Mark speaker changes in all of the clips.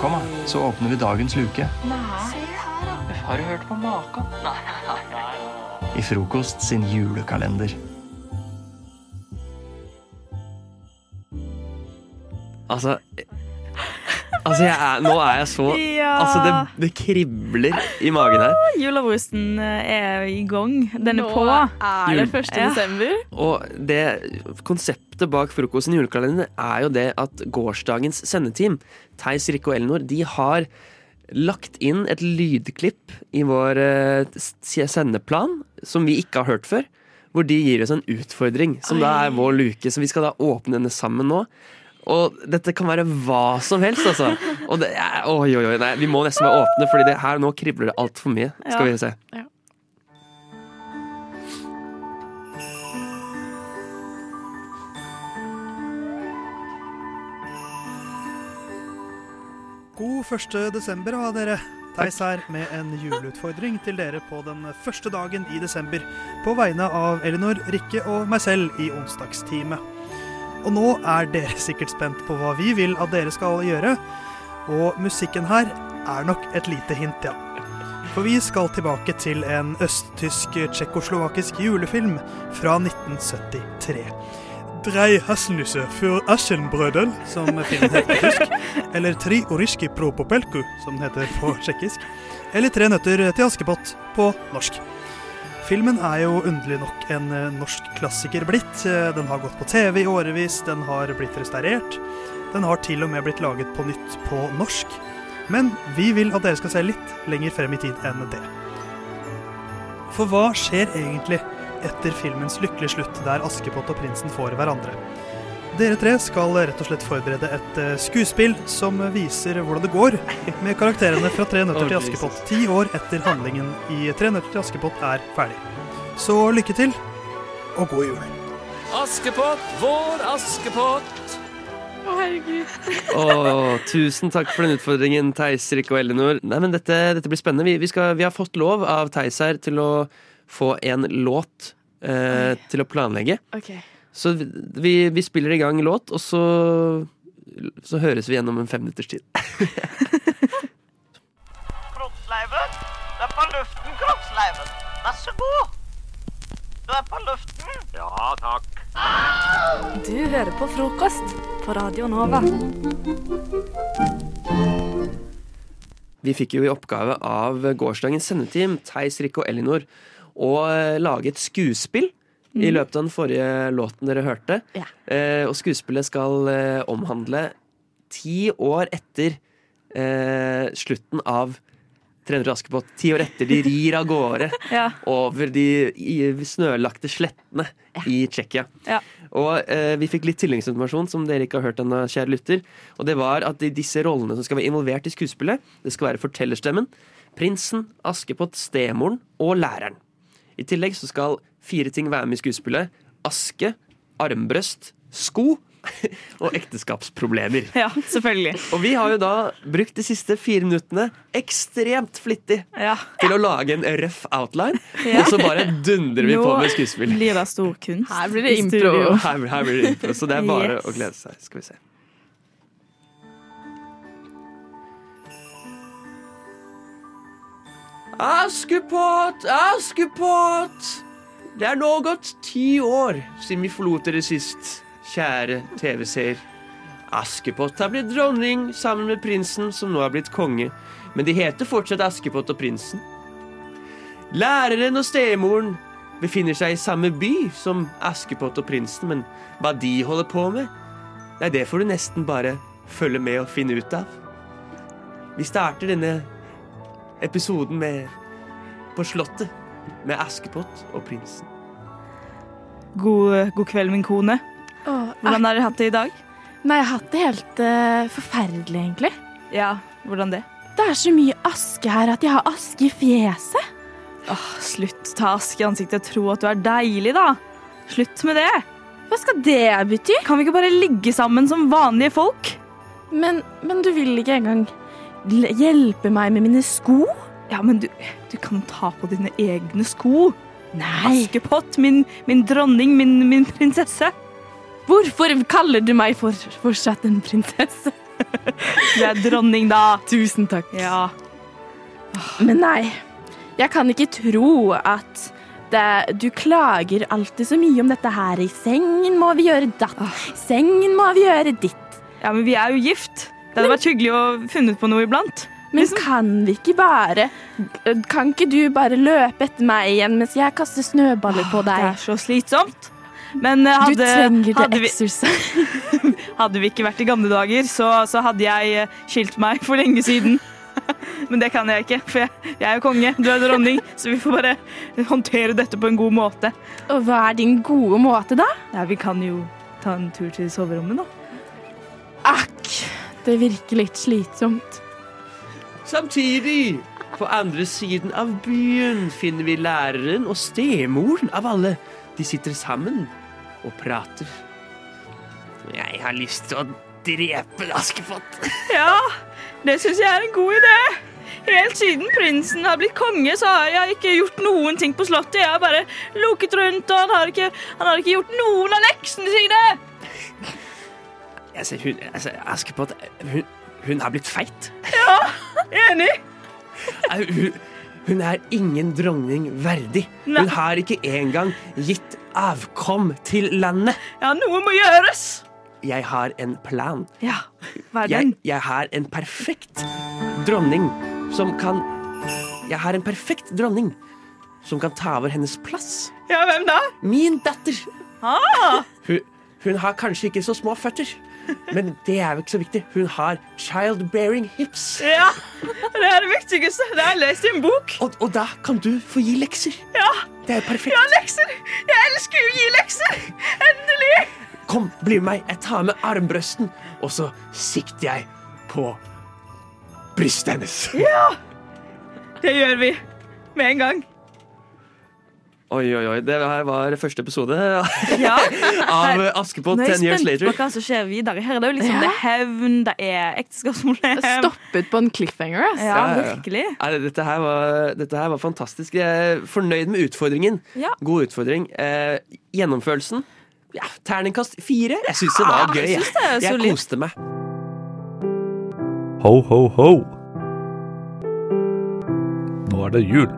Speaker 1: Kom, da. Så åpner vi dagens luke.
Speaker 2: Nei, har du hørt på maken? Nei, nei, nei.
Speaker 1: I Frokost sin julekalender.
Speaker 3: Altså Altså, jeg er, nå er jeg så
Speaker 4: Ja.
Speaker 3: Altså, det, det kribler i magen her.
Speaker 4: Julebrusen eh, er i gang. Den er på.
Speaker 5: er det
Speaker 3: Jul.
Speaker 5: 1.
Speaker 4: Ja.
Speaker 5: desember.
Speaker 3: Og det konseptet bak frokosten i julekalenderen er jo det at gårsdagens sendeteam, Theis, Rikke og Elinor, de har lagt inn et lydklipp i vår eh, s- sendeplan som vi ikke har hørt før. Hvor de gir oss en utfordring, som da er vår luke. Så vi skal da åpne denne sammen nå. Og dette kan være hva som helst, altså. Og det, er- oi, oi, oi, nei, vi må nesten være åpne, Fordi det her nå kribler det altfor mye.
Speaker 4: Ja.
Speaker 3: Skal vi se.
Speaker 6: God 1. desember ha dere. Theis her med en juleutfordring til dere på den første dagen i desember. På vegne av Elinor, Rikke og meg selv i onsdagstime. Og nå er dere sikkert spent på hva vi vil at dere skal gjøre. Og musikken her er nok et lite hint, ja. For vi skal tilbake til en østtysk-tsjekkoslovakisk julefilm fra 1973. Drei Hasselnüsse für Aschenbrödel, som filmen heter på tysk. Eller Tri oriski pro popelku, som den heter på tsjekkisk. Eller Tre nøtter til Askepott på norsk. Filmen er jo underlig nok en eh, norsk klassiker blitt. Eh, Den har gått på TV i årevis, den har blitt restaurert. Den har til og med blitt laget på nytt på norsk. Men vi vil at dere skal se litt lenger frem i tid enn det. For hva skjer egentlig etter filmens lykkelige slutt, der Askepott og prinsen får hverandre? Dere tre skal rett og slett forberede et eh, skuespill som viser hvordan det går med karakterene fra Tre nøtter
Speaker 3: Å,
Speaker 6: til
Speaker 3: Jesus.
Speaker 6: Askepott ti år etter handlingen i Tre nøtter til Askepott er ferdig. Så lykke til, og god jul.
Speaker 3: Askepott, vår Askepott.
Speaker 5: Å, herregud.
Speaker 3: Åh, tusen takk for den utfordringen, Theis, Rikke og Elinor. Nei, men dette, dette blir spennende. Vi, vi, skal, vi har fått lov av Theis her til å få en låt eh, til å planlegge.
Speaker 5: Ok.
Speaker 3: Så vi, vi, vi spiller i gang låt, og så, så høres vi igjen om en femminutters tid.
Speaker 7: Kroppsleiven. Du er på luften, Kroppsleiven. Vær så god. Du er på luften. Ja, takk.
Speaker 8: Du hører på frokost på Radio Nova.
Speaker 9: Mm.
Speaker 3: Vi fikk jo i oppgave av gårsdagens sendeteam, Theis, Rikke og Elinor, å eh, lage et skuespill i løpet av den forrige låten dere hørte.
Speaker 5: Ja.
Speaker 3: Eh, og skuespillet skal eh, omhandle ti år etter eh, slutten av 300 Askepott. Ti år etter de rir av gårde
Speaker 4: Ja.
Speaker 3: over de i- snølagte slettene i Tsjekkia.
Speaker 4: Ja.
Speaker 3: Og eh, vi fikk litt tilleggsinformasjon som dere ikke har hørt ennå, kjære lytter. Og det var at i disse rollene som skal være involvert i skuespillet, det skal være fortellerstemmen, prinsen, Askepott, stemoren og læreren. I tillegg så skal fire ting være med i skuespillet. Aske, armbrøst, sko og ekteskapsproblemer.
Speaker 4: ja, selvfølgelig.
Speaker 3: Og vi har jo da brukt de siste fire minuttene ekstremt flittig
Speaker 4: Ja.
Speaker 3: til å lage en røff outline,
Speaker 4: Ja.
Speaker 3: og så bare dundrer vi på
Speaker 4: Nå
Speaker 3: med skuespill.
Speaker 4: blir det stor kunst.
Speaker 5: Her blir det
Speaker 4: i
Speaker 5: impro.
Speaker 4: studio.
Speaker 3: Her, her blir det impro, så det er bare
Speaker 4: Yes.
Speaker 3: å glede seg. Skal vi se. Askepott, Askepott! Det er nå gått ti år siden vi forlot dere sist, kjære TV-seer. Askepott har blitt dronning sammen med prinsen, som nå har blitt konge. Men de heter fortsatt Askepott og prinsen. Læreren og stemoren befinner seg i samme by som Askepott og prinsen, men hva de holder på med, nei, det får du nesten bare følge med og finne ut av. Vi starter denne episoden med På Slottet med Askepott og prinsen.
Speaker 4: God, eh, god kveld, min kone.
Speaker 9: Ah.
Speaker 5: Å,
Speaker 4: Hvordan har dere hatt det i dag?
Speaker 5: Ah. Nei, jeg har hatt det helt eh, forferdelig, egentlig.
Speaker 4: Ja, hvordan det?
Speaker 5: Det er så mye aske her at jeg har aske i fjeset.
Speaker 4: Åh, slutt. Ta aske i ansiktet og tro at du er deilig, da. Slutt med det.
Speaker 5: Hva skal det bety?
Speaker 4: Kan vi ikke bare ligge sammen som vanlige folk?
Speaker 5: Men, men du vil ikke engang l- hjelpe meg med mine sko?
Speaker 4: Ja, men du, du kan ta på dine egne sko.
Speaker 5: Nei.
Speaker 4: Askepott, min, min dronning, min, min prinsesse.
Speaker 5: Hvorfor kaller du meg for, fortsatt en prinsesse?
Speaker 9: Du er dronning, da.
Speaker 10: Tusen takk.
Speaker 9: Ja.
Speaker 10: Men nei, jeg kan ikke tro at det, du klager alltid så mye om dette her. I sengen må vi gjøre datt. Sengen må vi gjøre ditt.
Speaker 9: ja, men vi er jo gift. Liksom- Det hadde vært hyggelig å funnet på noe iblant.
Speaker 10: Men kan vi ikke bare eh, Kan ikke du bare løpe etter meg igjen mens jeg kaster snøballer
Speaker 9: Ah,
Speaker 10: på
Speaker 9: Det
Speaker 10: deg?
Speaker 9: er så slitsomt. Men eh,
Speaker 10: Du
Speaker 9: hadde,
Speaker 10: trenger det
Speaker 9: hadde, vi,
Speaker 10: exercise.
Speaker 9: hadde vi ikke vært i gamle dager, så, så hadde jeg eh, skilt meg for lenge siden. Men det kan jeg ikke, for jeg, jeg er jo konge, du er dronning, så vi får bare håndtere dette på en god måte.
Speaker 10: Og hva er din gode måte, da?
Speaker 9: Ja, vi kan jo ta en tur til soverommet, da.
Speaker 10: Akk, det virker litt slitsomt.
Speaker 3: Samtidig, på andre siden av byen, finner vi læreren og stemoren av alle. De sitter sammen og prater. Jeg har lyst til å drepe Askepott.
Speaker 9: Ja, det syns jeg er en god idé. Helt siden prinsen har blitt konge, så har jeg ikke gjort noen ting på slottet. Jeg har bare loket rundt, og han har ikke, han har ikke gjort noen av leksene sine.
Speaker 3: Altså, hun, altså, Askepott hun, hun er blitt feit.
Speaker 9: Enig?
Speaker 3: Au, Hun, hun er ingen dronning verdig.
Speaker 9: Nei.
Speaker 3: Hun har ikke engang gitt avkom til landet.
Speaker 9: Ja, noe må gjøres.
Speaker 3: Jeg har en plan.
Speaker 9: Ja, hva er
Speaker 3: Jeg,
Speaker 9: den?
Speaker 3: jeg har en perfekt dronning som kan Jeg har en perfekt dronning som kan ta over hennes plass.
Speaker 9: Ja, hvem da?
Speaker 3: Min datter.
Speaker 9: Ah,
Speaker 3: Hun, hun har kanskje ikke så små føtter, men det er jo ikke så viktig. Hun har childbearing hips.
Speaker 9: ja, det er det viktigste. Det har jeg lest i en bok.
Speaker 3: Og, og da kan du få gi lekser.
Speaker 9: Ja,
Speaker 3: Det er jo perfekt.
Speaker 9: ja, lekser. Jeg elsker jo å gi lekser. Endelig.
Speaker 3: Kom, bli med meg. Jeg tar med armbrøsten, og så sikter jeg på brystet hennes.
Speaker 9: Det gjør vi. Med en gang.
Speaker 3: Oi, oi, oi. Det her var første episode
Speaker 9: Ja.
Speaker 3: av Askepott
Speaker 9: Nå er
Speaker 3: 10
Speaker 9: jeg
Speaker 3: Years
Speaker 9: spent
Speaker 3: Later.
Speaker 9: på hva som skjer videre her. Det er jo liksom det er hevn, det er ekteskapsproblem.
Speaker 10: Stoppet på en cliffhanger, ass.
Speaker 9: Ja,
Speaker 3: Ja, ja, ja.
Speaker 9: virkelig.
Speaker 3: Nei, dette, her var, dette her var fantastisk. Jeg er fornøyd med utfordringen.
Speaker 9: Ja.
Speaker 3: God utfordring. Eh, gjennomførelsen. Ja, terningkast fire. Jeg syns det var gøy.
Speaker 9: Ah, jeg synes det er
Speaker 3: jeg
Speaker 9: solid.
Speaker 3: koste meg.
Speaker 11: Ho, ho, ho. Nå er det jul.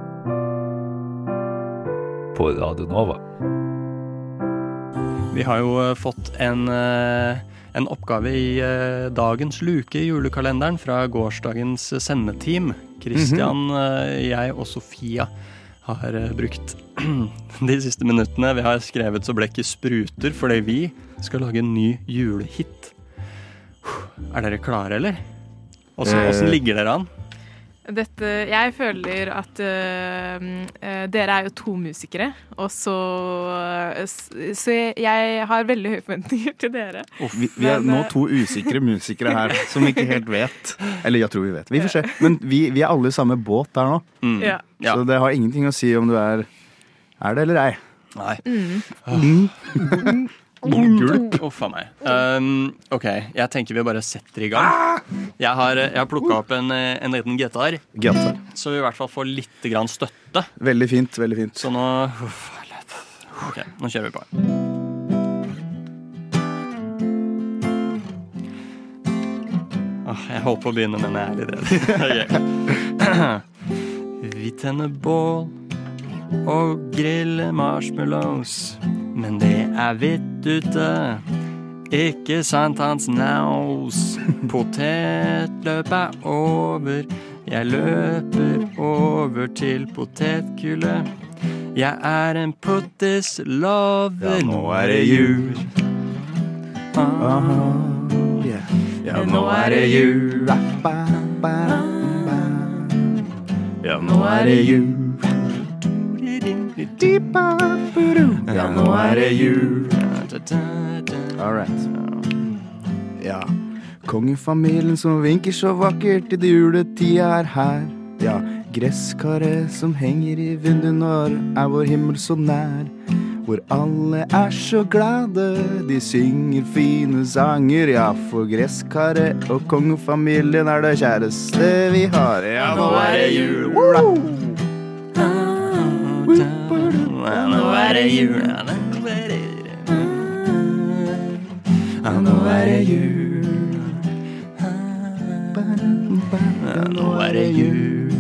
Speaker 11: På Radio Nova.
Speaker 1: Vi har jo eh, fått en, eh, en oppgave i eh, dagens luke i julekalenderen fra gårsdagens sendeteam. Christian, eh, jeg og Sofia har eh, brukt de siste minuttene. Vi har skrevet så blekket spruter fordi vi skal lage en ny julehit. Er dere klare, eller? Åssen åssen ligger dere an?
Speaker 12: Dette, jeg føler at
Speaker 8: eh,
Speaker 12: øhm, øh, dere er jo to musikere, og så
Speaker 8: eh,
Speaker 12: øh, s- Så jeg, jeg har veldig høye forventninger til dere.
Speaker 13: Og vi, vi er
Speaker 12: Men,
Speaker 13: nå
Speaker 12: eh,
Speaker 13: to usikre musikere her som vi ikke helt vet. Eller jeg tror vi vet. Vi får se. Men vi, vi er alle i samme båt der nå.
Speaker 1: Mm.
Speaker 12: Ja.
Speaker 1: Ja.
Speaker 13: Så det har ingenting å si om du er er det eller ei.
Speaker 1: Nei.
Speaker 12: Mm.
Speaker 11: Mm,
Speaker 1: Gulp. Uff a meg. Um, OK, jeg tenker vi bare setter i gang. Jeg har, jeg har plukka opp en, eh, en liten gitar,
Speaker 13: Greit.
Speaker 1: så vi i hvert fall får litt grann støtte.
Speaker 13: Veldig fint. veldig fint
Speaker 1: Så nå uff, herlighet. OK, nå kjører vi på. Åh, Ah, Jeg holdt på å begynne, men jeg er litt redd. Ok. Vi tenner bål og griller marshmallows, men det er hvitt ute. Ikke sant, hans naus. Potetløp er over. Jeg løper over til potetgullet. Jeg er en pottis lover.
Speaker 13: Ja, nå er det jul.
Speaker 1: Ah.
Speaker 13: Yeah. Ja, nå er det jul. Ba, ba, ba. Ja, nå er det jul. Di, ba, bu-du. Ja, nå er det jul. All right. Ja. Kongefamilien som vinker så vakkert i det juletida er her. Ja, gresskaret som henger i vinduet når er vår himmel så nær. Hvor alle er så glade, de synger fine sanger. Ja, for gresskaret og kongefamilien er det kjæreste vi har. Ja, nå er det jul. Woo!
Speaker 1: Nå er det jul. Nå er det jul. Nå er det jul. Ja, nå er det jul.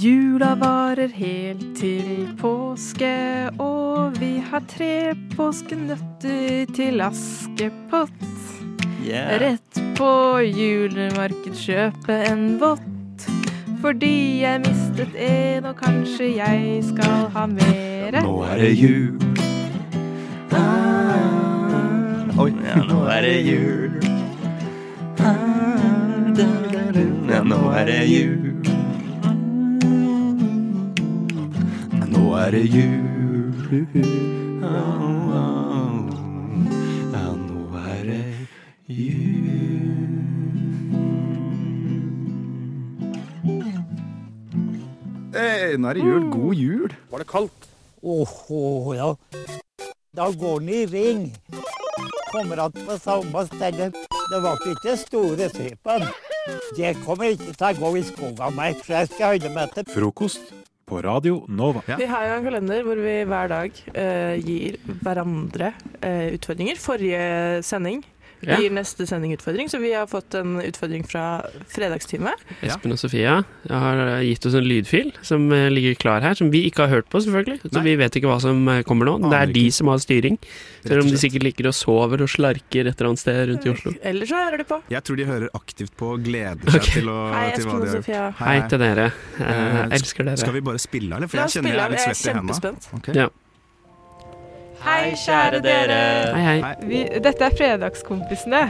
Speaker 8: Jula varer helt til påske, og vi har tre påskenøtter til Askepott.
Speaker 2: Yeah.
Speaker 8: Rett på julemarked kjøpe en vott, fordi jeg mistet en, og kanskje jeg skal ha mere.
Speaker 1: Nå er det jul. Oi, ja, nå er det jul. Ja, nå er det jul. Nå er det jul. Au, au. Ja, nå er det
Speaker 13: Hey, nå er det jul. God jul.
Speaker 14: Var det kaldt? Åh, åh, ja. Da går den i ring. Kommer att på samme sted. Det var ikke store sypen. Det kommer ikke til å gå i skogen av meg, for jeg skal holde meg til
Speaker 15: Frokost på Radio Nova.
Speaker 16: Vi har jo en kalender hvor vi hver dag eh, gir hverandre eh, utfordringer. Forrige sending
Speaker 17: Ja.
Speaker 16: gir neste sending utfordring, så vi har fått en utfordring fra fredagstime.
Speaker 17: Espen og Sofia har eh, gitt oss en lydfil som eh, ligger klar her, som vi ikke har hørt på, selvfølgelig. Så vi vet ikke hva som eh, kommer nå. Det er de som har styring. Selv om de sikkert ligger og sover og slarker et eller annet sted rundt i Oslo.
Speaker 16: Eller så hører du på.
Speaker 12: Jeg tror de hører aktivt på og gleder seg til, å,
Speaker 16: Hei,
Speaker 12: til
Speaker 16: Espen
Speaker 12: hva
Speaker 16: og
Speaker 12: de har
Speaker 16: Sofia.
Speaker 12: gjort.
Speaker 17: Hei til dere. Eh,
Speaker 12: Eh,
Speaker 17: jeg elsker dere.
Speaker 12: Skal vi bare spille, eller?
Speaker 16: La
Speaker 12: For jeg
Speaker 16: oss
Speaker 12: kjemper
Speaker 16: spille,
Speaker 12: jeg er litt
Speaker 16: jeg er
Speaker 12: svett i hendene.
Speaker 16: kjempespent.
Speaker 12: Ok.
Speaker 17: Ja.
Speaker 16: Hei, kjære dere.
Speaker 8: Vi, dette er Fredagskompisene,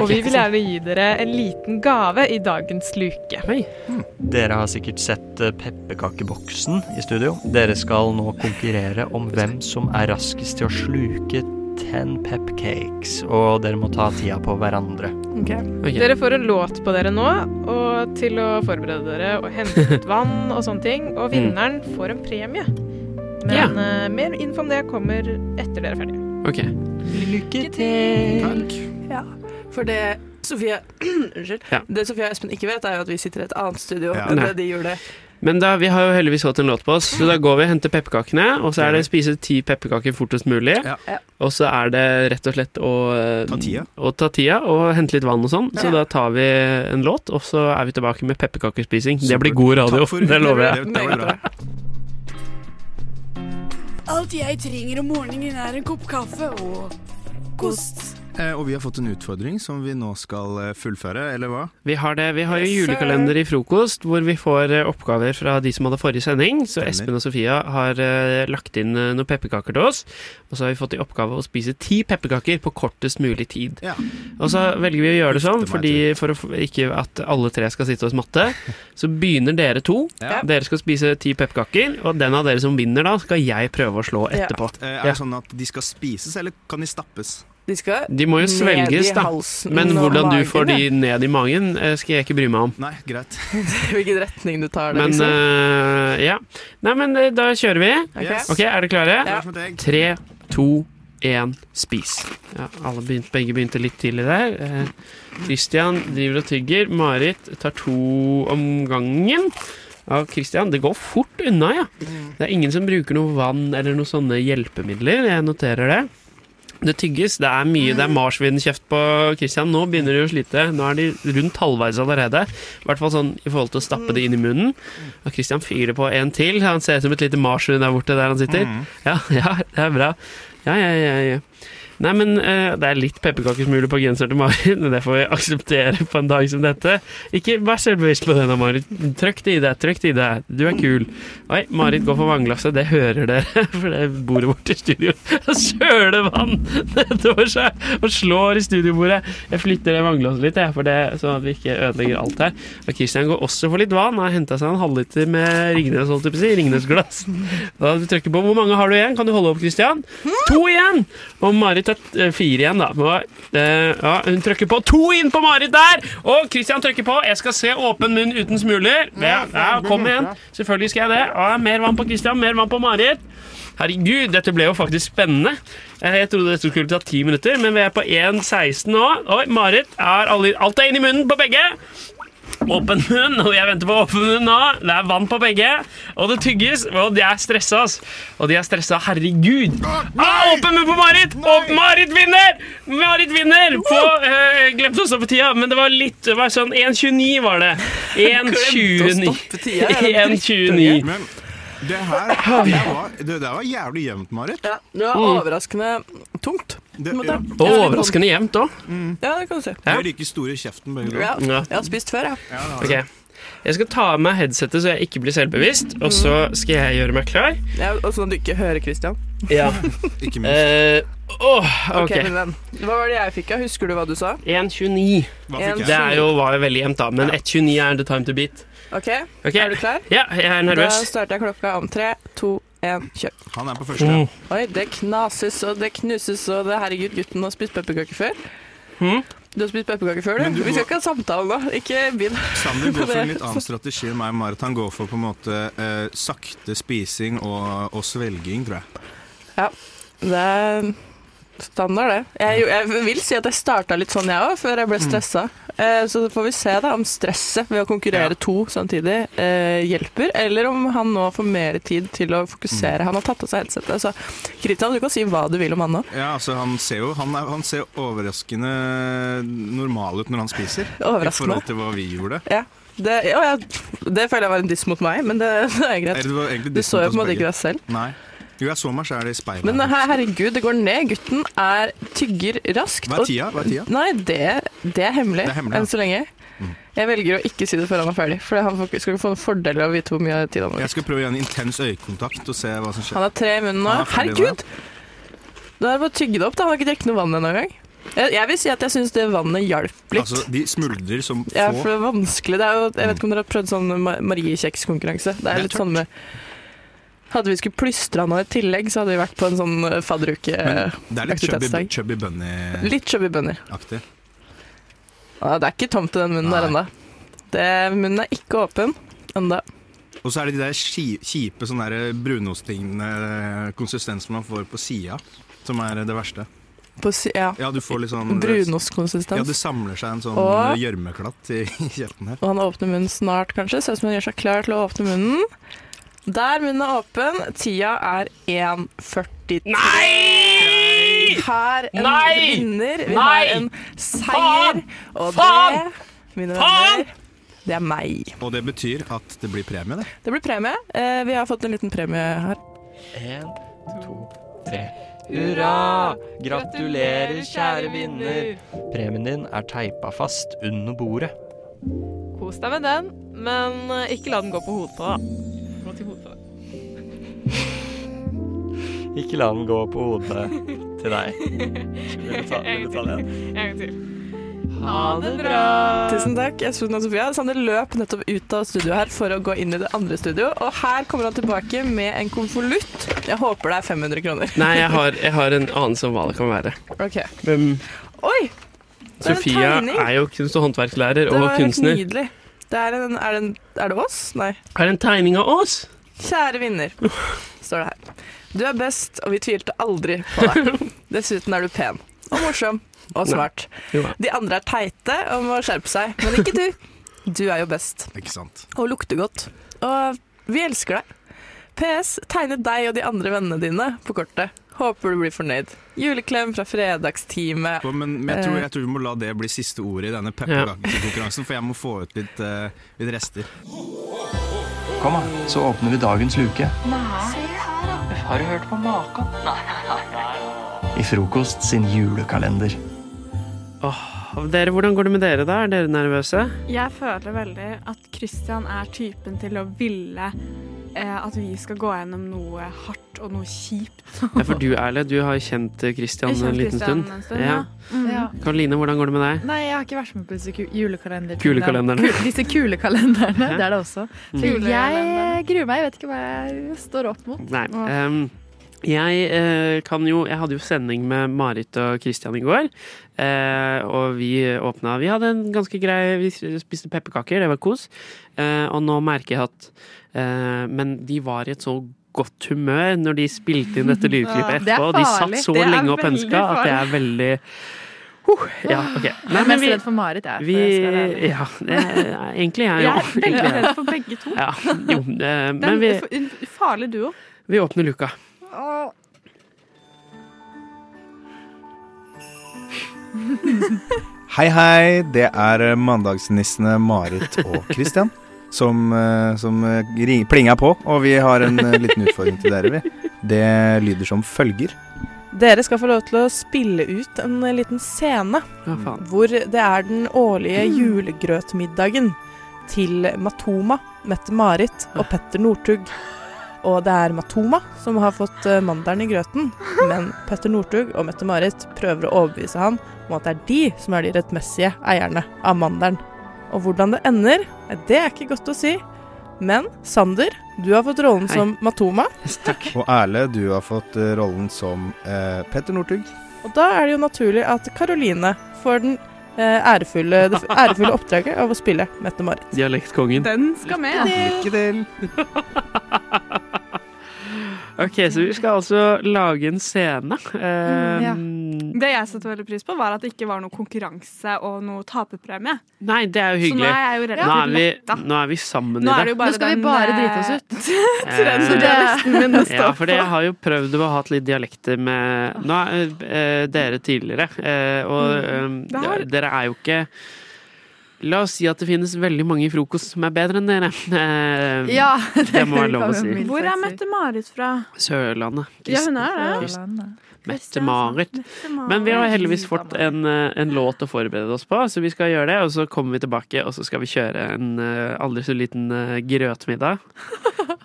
Speaker 8: og vi vil gjerne gi dere en liten gave i dagens luke. Mm.
Speaker 1: Dere har sikkert sett eh, pepperkakeboksen i studio. Dere skal nå konkurrere om hvem som er raskest til å sluke 10 pepcakes. Og dere må ta tida på hverandre.
Speaker 8: Dere får en låt på dere nå, og til å forberede dere og hente ut vann og sånne ting.
Speaker 16: Mm.
Speaker 8: Og vinneren får en premie. Men
Speaker 17: Ja.
Speaker 8: eh, mer info om det kommer etter dere er ferdige.
Speaker 17: Ok.
Speaker 16: Lykke til. Takk. Ja, for det Sofie Unnskyld.
Speaker 17: Ja.
Speaker 16: Det Sofie og Espen ikke vet, er jo at vi sitter i et annet studio
Speaker 17: Ja.
Speaker 16: enn
Speaker 17: Nei.
Speaker 16: det de gjorde.
Speaker 17: Men da, vi har jo heldigvis fått en låt på oss, så da går vi og henter pepperkakene. Og så er det å spise ti pepperkaker fortest mulig. Og så er det rett og slett å ta tida og, ta tida, og hente litt vann og sånn. Så da tar vi en låt, og så er vi tilbake med pepperkakespising. Det blir god radio, det lover jeg.
Speaker 18: Alt jeg trenger om morgenen er en kopp kaffe og kost.
Speaker 12: Eh, og vi har fått en utfordring som vi nå skal eh, fullføre, eller hva?
Speaker 17: Vi har, det. Eh, vi har jo julekalender i frokost, hvor vi får eh, oppgaver fra de som hadde forrige sending. Så Espen og Sofia har eh, lagt inn eh, noen pepperkaker til oss. Og så har vi fått i oppgave å spise ti pepperkaker på kortest mulig tid. Og så velger vi å gjøre det sånn, fordi for å f- ikke at alle tre skal sitte og smatte. Så begynner dere to. Dere skal spise ti pepperkaker, og den av dere som vinner da, skal jeg prøve å slå etterpå.
Speaker 12: Eh, er
Speaker 17: Ja.
Speaker 12: det sånn at de skal spises, eller kan de stappes?
Speaker 16: De skal
Speaker 17: De må jo svelges, da. Men hvordan du får de ned i magen, eh, skal jeg ikke bry meg om.
Speaker 12: Nei, greit.
Speaker 16: Hvilken retning du tar det, liksom.
Speaker 17: Men eh, ja. Nei, men eh, da kjører vi.
Speaker 16: Ok. Yes.
Speaker 17: Ok, Er dere klare?
Speaker 16: Ja. Klar som et egg.
Speaker 17: Tre, to, én, spis. Ja, alle begynte, begge begynte litt tidlig der. Eh, Christian driver og tygger. Marit tar to om gangen. Ja, Christian, det går fort unna, ja. Det er ingen som bruker noe vann eller noen sånne hjelpemidler. Jeg noterer det. Det tygges. Det er mye. Det er marsvinkjeft på Christian. Nå begynner de å slite. Nå er de rundt halvveis allerede. I hvert fall sånn i forhold til å stappe det inn i munnen. Og Christian fyrer på en til. Han ser ut som et lite marsvin der borte der han sitter.
Speaker 19: Mm.
Speaker 17: Ja, ja, det er bra. Ja, ja, ja. ja. Nei, men eh, det er litt pepperkakesmuler på genseren til Marit. men Det får vi akseptere på en dag som dette. Ikke vær selvbevisst på det nå, Marit. Trykk det i deg, trykk det i deg. Du er kul. Oi, Marit går for vannglasset. Det hører dere, for det er bordet vårt i studio. Og søler vann nedover seg og slår i studiobordet. Jeg flytter det vannglasset litt, jeg, for det, sånn at vi ikke ødelegger alt her. Og Christian går også for litt vann. Han har henta seg en halvliter med Ringnes, holdt jeg på å si. Ringnes-glass. Da trykker du på. Hvor mange har du igjen? Kan du holde opp, Christian? To igjen! Og Marit har eh, fire igjen, da. Og, eh, ja, hun trykker på. To inn på Marit der! Og Christian trykker på. Jeg skal se åpen munn uten smuler. Ja, ja, kom igjen. Selvfølgelig skal jeg det. Ja, mer vann på Christian, mer vann på Marit. Herregud, dette ble jo faktisk spennende. Eh, Jeg trodde dette skulle ta ti minutter, men vi er på 1,16 nå. Oi, Marit, er alle, alt er inn i munnen på begge. Åpen munn, og jeg venter på åpen munn nå. Det er vann på begge, og det tygges. Og de er stressa, ass. Og de er stressa. Herregud. Ah, åpen munn på Marit! Og Marit vinner! Marit vinner på eh, Glemte å stoppe tida, men det var litt det var sånn 1,29 var det. 1,29. 1,29.
Speaker 12: Men det her det her var, det der var jævlig jevnt, Marit. Ja,
Speaker 16: Det var overraskende tungt.
Speaker 12: Det,
Speaker 16: Men det-
Speaker 12: ja.
Speaker 17: Mm. Og overraskende jevnt òg.
Speaker 16: Ja, det kan du si.
Speaker 12: De er like store i kjeften, begge
Speaker 16: Ja.
Speaker 12: to.
Speaker 16: Jeg har spist før, jeg.
Speaker 17: Ok. Jeg skal ta av meg headsetet så jeg ikke blir selvbevisst, og så skal jeg gjøre meg klar.
Speaker 16: Ja, og sånn at du ikke hører Christian.
Speaker 17: Ja.
Speaker 12: Ikke
Speaker 17: minst.
Speaker 16: Ok,
Speaker 17: ok.
Speaker 16: min venn. Hva var det jeg fikk? ja? Husker du hva du sa?
Speaker 17: 1,29.
Speaker 16: Hva fikk jeg?
Speaker 17: Det er jo, var jo veldig jevnt, da, men 1,29 er the time to beat.
Speaker 16: Ok,
Speaker 17: Ok.
Speaker 16: Er du klar?
Speaker 17: Ja, jeg er
Speaker 16: Da
Speaker 17: nervøs.
Speaker 16: starter jeg klokka om tre, to, én, kjør.
Speaker 12: Han er på
Speaker 17: første. Mm.
Speaker 16: Oi, det knases og det knuses og det Herregud, gutten har spist pepperkaker før.
Speaker 17: Mm.
Speaker 16: Du har spist pepperkaker før,
Speaker 12: Men
Speaker 16: du.
Speaker 12: du
Speaker 16: Vi skal
Speaker 12: går-
Speaker 16: ikke ha samtale nå. Ikke begynn.
Speaker 12: Sander går
Speaker 16: på
Speaker 12: for en
Speaker 16: det.
Speaker 12: litt annen strategi enn meg og Marit. Han går for på en måte eh, sakte spising og, og svelging, tror jeg.
Speaker 16: Ja, det er standard, det. Jeg, jeg vil si at jeg starta litt sånn, jeg òg, før jeg ble stressa. Eh, så får vi se da om stresset ved å konkurrere to samtidig eh, hjelper, eller om han nå får mer tid til å fokusere. Han har tatt av seg headsetet, så Kristian, du kan si hva du vil om han nå.
Speaker 12: Ja, altså Han ser jo han, er, han ser overraskende normal ut når han spiser.
Speaker 16: Overraskende.
Speaker 12: I forhold til hva vi gjorde.
Speaker 16: Ja. Det, å ja, det føler jeg var en diss mot meg, men det, det er greit.
Speaker 12: Eller det var egentlig
Speaker 16: Du
Speaker 12: diss mot
Speaker 16: så jo
Speaker 12: oss
Speaker 16: på en måte
Speaker 12: begge.
Speaker 16: ikke deg selv.
Speaker 12: Nei. Jo, jeg så meg sjæl i speilet.
Speaker 16: Men eh, her, herregud, det går ned. Gutten er tygger raskt.
Speaker 12: Hva er
Speaker 16: og-
Speaker 12: tida? Hva er tida?
Speaker 16: Nei, det, det er hemmelig,
Speaker 12: Det er hemmelig, ja. Mm.
Speaker 16: enn så lenge. Jeg velger å ikke si det før han er ferdig, for han får, skal ikke få en fordel av å vite hvor mye tid han har.
Speaker 12: Jeg skal prøve igjen intens øyekontakt og se hva som skjer.
Speaker 16: Han har tre i munnen nå.
Speaker 12: Han er ferdig nå, ja.
Speaker 16: Herregud! Da er det bare å tygge det opp. da. Han har ikke drukket noe vann ennå engang. Jeg, jeg vil si at jeg syns det vannet hjalp litt.
Speaker 12: Altså, de smuldrer som få.
Speaker 16: Ja, for det er vanskelig. Det er jo, jeg vet ikke om dere har prøvd sånn Ma- Marie-kjekskonkurranse. Det
Speaker 12: Det er
Speaker 16: er litt sånn med Hadde vi skulle plystra nå i tillegg, så hadde vi vært på en sånn eh,
Speaker 12: Men det er litt chubby,
Speaker 16: fadderuke-aktivitetsdag.
Speaker 12: chubby bunny-aktig.
Speaker 16: Litt chubby bunner. Ja, det er ikke tomt i den munnen der ennå. Det- Munnen er ikke åpen ennå.
Speaker 12: Og så er det de der ski- kjipe sånne der brunostlignende konsistensen man får på sida, som er det verste.
Speaker 16: På si ja.
Speaker 12: Ja, du får litt sånn
Speaker 16: Brunostkonsistens.
Speaker 12: Ja, det samler seg en
Speaker 16: Og-
Speaker 12: sånn gjørmeklatt i i kjeften her.
Speaker 16: Og han åpner munnen snart, kanskje. Ser ut som han gjør seg klar til å åpne munnen. Der munnen er åpen. Tida er 1.43. Nei! Vi har en
Speaker 2: Nei!
Speaker 16: vinner. Vi
Speaker 2: Nei!
Speaker 16: har en seier. Og det, mine venner, det er meg.
Speaker 12: Og det betyr at det blir premie, det.
Speaker 16: Det blir premie. Eh, Vi har fått en liten premie her.
Speaker 3: En, to, tre. Hurra! Gratulerer, kjære vinner. Premien din er teipa fast under bordet.
Speaker 19: Kos deg med den, men eh, ikke la den gå på hodet på deg. Gå til hodet på deg.
Speaker 1: Ikke la den gå på hodet til deg. Vil du ta, vil du ta den?
Speaker 19: En gang til.
Speaker 16: Ha det bra! Tusen takk. Espen og Sofia. Sander løp nettopp ut av studioet her for å gå inn i det andre studio, og her kommer han tilbake med en konvolutt. Jeg håper det er 500 kroner.
Speaker 17: Nei, jeg har, jeg har en anelse om hva det kan være.
Speaker 16: Ok.
Speaker 17: Hvem-
Speaker 16: Oi! Det er en
Speaker 17: Sofia
Speaker 16: tegning.
Speaker 17: er jo kunst- og håndverkslærer
Speaker 16: Det var
Speaker 17: og
Speaker 16: helt
Speaker 17: kunstner.
Speaker 16: Nydelig. Det er, en, er, det en, er det oss? Nei.
Speaker 17: Er det en tegning av oss?
Speaker 16: Kjære vinner, står det her. Du er best, og vi tvilte aldri på deg. Dessuten er du pen og morsom og smart.
Speaker 17: Jo da.
Speaker 16: De andre er teite og må skjerpe seg, men ikke du. Du er jo best.
Speaker 12: Ikke sant.
Speaker 16: Og lukter godt. Og vi elsker deg. PS. Tegne deg og de andre vennene dine på kortet. Håper du blir fornøyd. Juleklem fra fredagsteamet.
Speaker 12: Og- Men, men jeg, tror,
Speaker 16: Eh,
Speaker 12: jeg tror vi må la det bli siste ordet i denne pepperkakekonkurransen, for jeg må få ut litt, eh, litt rester.
Speaker 1: Kom, da, så åpner vi dagens luke.
Speaker 2: Nei. Har du hørt på maken? Nei, nei, nei.
Speaker 1: I Frokost sin julekalender.
Speaker 17: Åh, dere, hvordan går det med dere, da? Er dere nervøse?
Speaker 10: Jeg føler veldig at Christian er typen til å ville eh, at vi skal gå gjennom noe hardt og noe kjipt.
Speaker 17: Ja, for du, Erle, du har kjent eh, Christian
Speaker 10: Jeg kjenner
Speaker 17: en liten
Speaker 10: Christian
Speaker 17: stund.
Speaker 10: en stund, ja. Mm. Ja.
Speaker 17: Karoline, hvordan går det med deg?
Speaker 10: Nei, jeg har ikke vært med på disse ku- julekalenderne.
Speaker 17: Kulekalenderne.
Speaker 10: Ku- Disse kulekalenderne, det er det også.
Speaker 17: Mm.
Speaker 10: Så jeg gruer meg, jeg vet ikke hva jeg står opp mot.
Speaker 17: Nei.
Speaker 10: Åh.
Speaker 17: ehm, jeg eh, kan jo Jeg hadde jo sending med Marit og Christian i går. eh, og vi åpna Vi hadde en ganske grei Vi spiste pepperkaker, det var kos. eh, og nå merker jeg at eh, Men de var i et så godt humør når de spilte inn dette lydklippet
Speaker 10: Ja, det er
Speaker 17: etterpå. og de satt
Speaker 10: farlig.
Speaker 17: så
Speaker 10: Det er
Speaker 17: lenge og
Speaker 10: veldig
Speaker 17: pønska at jeg er
Speaker 10: farlig.
Speaker 17: veldig Ja, ok.
Speaker 20: Jeg er mest redd for Marit, jeg. for
Speaker 17: Vi,
Speaker 20: jeg skal være ærlig.
Speaker 17: ja, eh, egentlig
Speaker 20: Jeg
Speaker 17: jeg
Speaker 20: er
Speaker 17: òg.
Speaker 20: veldig
Speaker 17: Egentlig jeg.
Speaker 20: redd for begge to.
Speaker 17: Ja, jo, eh,
Speaker 20: Det er
Speaker 17: men
Speaker 20: en
Speaker 17: vi,
Speaker 20: f- en farlig duo.
Speaker 17: vi åpner luka.
Speaker 13: Hei, hei. Det er eh, mandagsnissene Marit og Christian som, eh, som eh, ring- plinga på. Og vi har en eh, liten utfordring til dere, vi. Det lyder som følger.
Speaker 16: Dere skal få lov til å spille ut en eh, liten scene hvor det er den årlige julegrøtmiddagen til Matoma, Mette-Marit og Petter Northug. Og det er Matoma som har fått eh, mandelen i grøten, men Petter Northug og Mette-Marit prøver å overbevise han om at det er de som er de rettmessige eierne av mandelen. Og hvordan det ender, nei, det er ikke godt å si. Men Sander, du har fått rollen
Speaker 13: Hei.
Speaker 16: som Matoma.
Speaker 13: Og Erle, du har fått eh, rollen som eh, Petter Northug.
Speaker 16: Og da er det jo naturlig at Karoline får den eh, ærefulle, det f- ærefulle oppdraget av å spille Mette-Marit.
Speaker 17: Dialektkongen.
Speaker 16: Den skal
Speaker 17: med.
Speaker 13: Lykke til!
Speaker 17: Ok, så vi skal altså lage en scene. Eh,
Speaker 10: Mm. ja. Det jeg satte veldig pris på, var at det ikke var noe konkurranse og noe taperpremie.
Speaker 17: Nei, det er jo
Speaker 10: Så
Speaker 17: hyggelig.
Speaker 10: nå er jeg jo
Speaker 17: Nå er
Speaker 10: relativt
Speaker 17: vi,
Speaker 10: letta.
Speaker 17: nå er vi sammen
Speaker 10: Nå
Speaker 17: i
Speaker 10: er
Speaker 17: det.
Speaker 10: det jo bare
Speaker 20: Nå skal vi
Speaker 10: den,
Speaker 20: bare
Speaker 10: eh,
Speaker 20: drite oss ut.
Speaker 17: Eh,
Speaker 20: dialekten min å stå
Speaker 17: ja, for det
Speaker 20: på.
Speaker 17: har jo prøvd å ha hatt litt dialekter med nå, er, eh, dere tidligere, eh,
Speaker 10: Mm.
Speaker 17: og eh,
Speaker 20: Det har-
Speaker 17: ja, dere er jo ikke La oss si at det finnes veldig mange i frokost som er bedre enn dere. Eh,
Speaker 10: Ja,
Speaker 17: det, må være lov å si.
Speaker 10: Hvor er Mette-Marit fra?
Speaker 17: Sørlandet.
Speaker 10: Ja, hun er det.
Speaker 17: Krist- Mette-Marit. Men vi har heldigvis fått en, eh, en låt å forberede oss på, så vi skal gjøre det. Og så kommer vi tilbake, og så skal vi kjøre en eh, aldri så liten eh, grøtmiddag.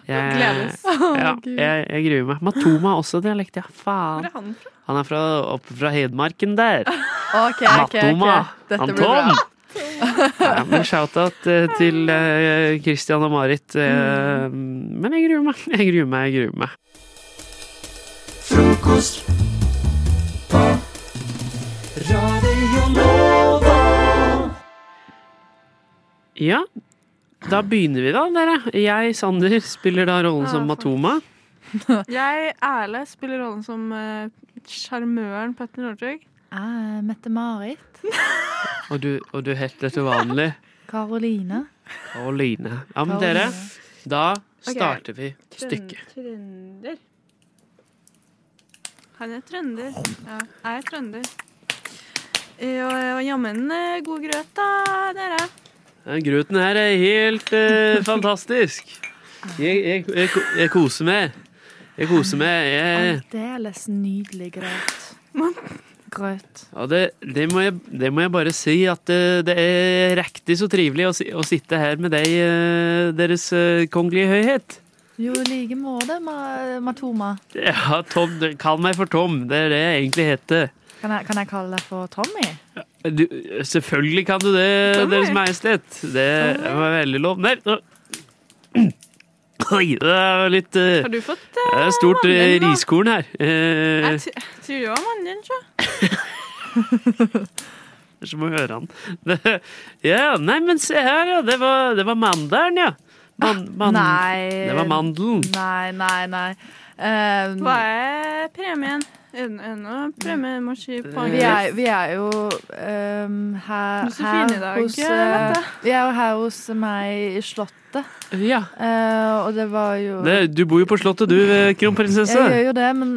Speaker 17: Jeg,
Speaker 20: Gledes.
Speaker 17: Ja,
Speaker 20: Å, Gud.
Speaker 17: jeg, jeg gruer meg. Matoma har også dialekt, ja. Faen. Han er fra, oppe fra Hedmarken der.
Speaker 20: OK, OK. ok.
Speaker 17: Matoma.
Speaker 20: Dette blir bra.
Speaker 17: Anton. Ja, men Shout-out eh, til eh, Christian og Marit. eh, Men jeg gruer meg. Jeg gruer meg, jeg gruer meg.
Speaker 2: Frokost på Radio Nova.
Speaker 17: Ja, da begynner vi da, dere. Jeg, Sander, spiller da rollen som Matoma.
Speaker 10: Jeg, Erle, spiller rollen som eh, sjarmøren Petter Northug.
Speaker 20: Eh, Mette-Marit.
Speaker 17: Og du, og du heter til vanlig
Speaker 20: Karoline.
Speaker 17: Karoline. Ja, men dere, da starter vi stykket.
Speaker 10: Trønder. Han er trønder. Ja, jeg er trønder. Eh, Og, og jammen eh, god grøt, da, dere.
Speaker 17: Den grøten her er helt eh, fantastisk. Jeg, jeg, jeg, ko- jeg koser meg. Jeg koser meg. Jeg,
Speaker 20: Aldeles nydelig grøt. Grøt.
Speaker 17: ja, det, det, må jeg, det må jeg bare si, at eh, det er riktig så trivelig å, si- å sitte her med deg, eh, Deres eh, Kongelige Høyhet.
Speaker 20: Jo, i like måte, Ma- Matoma.
Speaker 17: Ja, Tom, du- kall meg for Tom. Det er det jeg egentlig heter.
Speaker 20: Kan jeg, kan jeg kalle deg for Tommy?
Speaker 17: Du, selvfølgelig kan du det,
Speaker 20: Tommy.
Speaker 17: Deres Majestet. Det var veldig lov. Nei, nå- Oi, det er litt eh,
Speaker 10: Har du fått,
Speaker 17: Det er et stort eh,
Speaker 10: mandel, da?
Speaker 17: riskorn her. Eh,
Speaker 10: Jeg tr- tror det var mannen din, sjø.
Speaker 17: Det er som å høre han. Det, ja, nei, men se her, ja. Det var, det var mandelen, ja. Man, man,
Speaker 20: Ah, Nei.
Speaker 17: Det var mandelen.
Speaker 20: Nei, nei, nei. Eh,
Speaker 10: Hva er premien? Er det er det noe premie må si på
Speaker 17: Eh.
Speaker 20: vi, er, vi er jo ehm, her,
Speaker 10: Du er så
Speaker 20: her
Speaker 10: fin i dag,
Speaker 20: hos eh,
Speaker 10: Mette.
Speaker 20: Vi er jo her hos meg i Slottet.
Speaker 17: Ja.
Speaker 20: Eh, og det var jo
Speaker 17: Det, du bor jo på Slottet, du, eh, kronprinsesse.
Speaker 20: Jeg gjør jo det, men,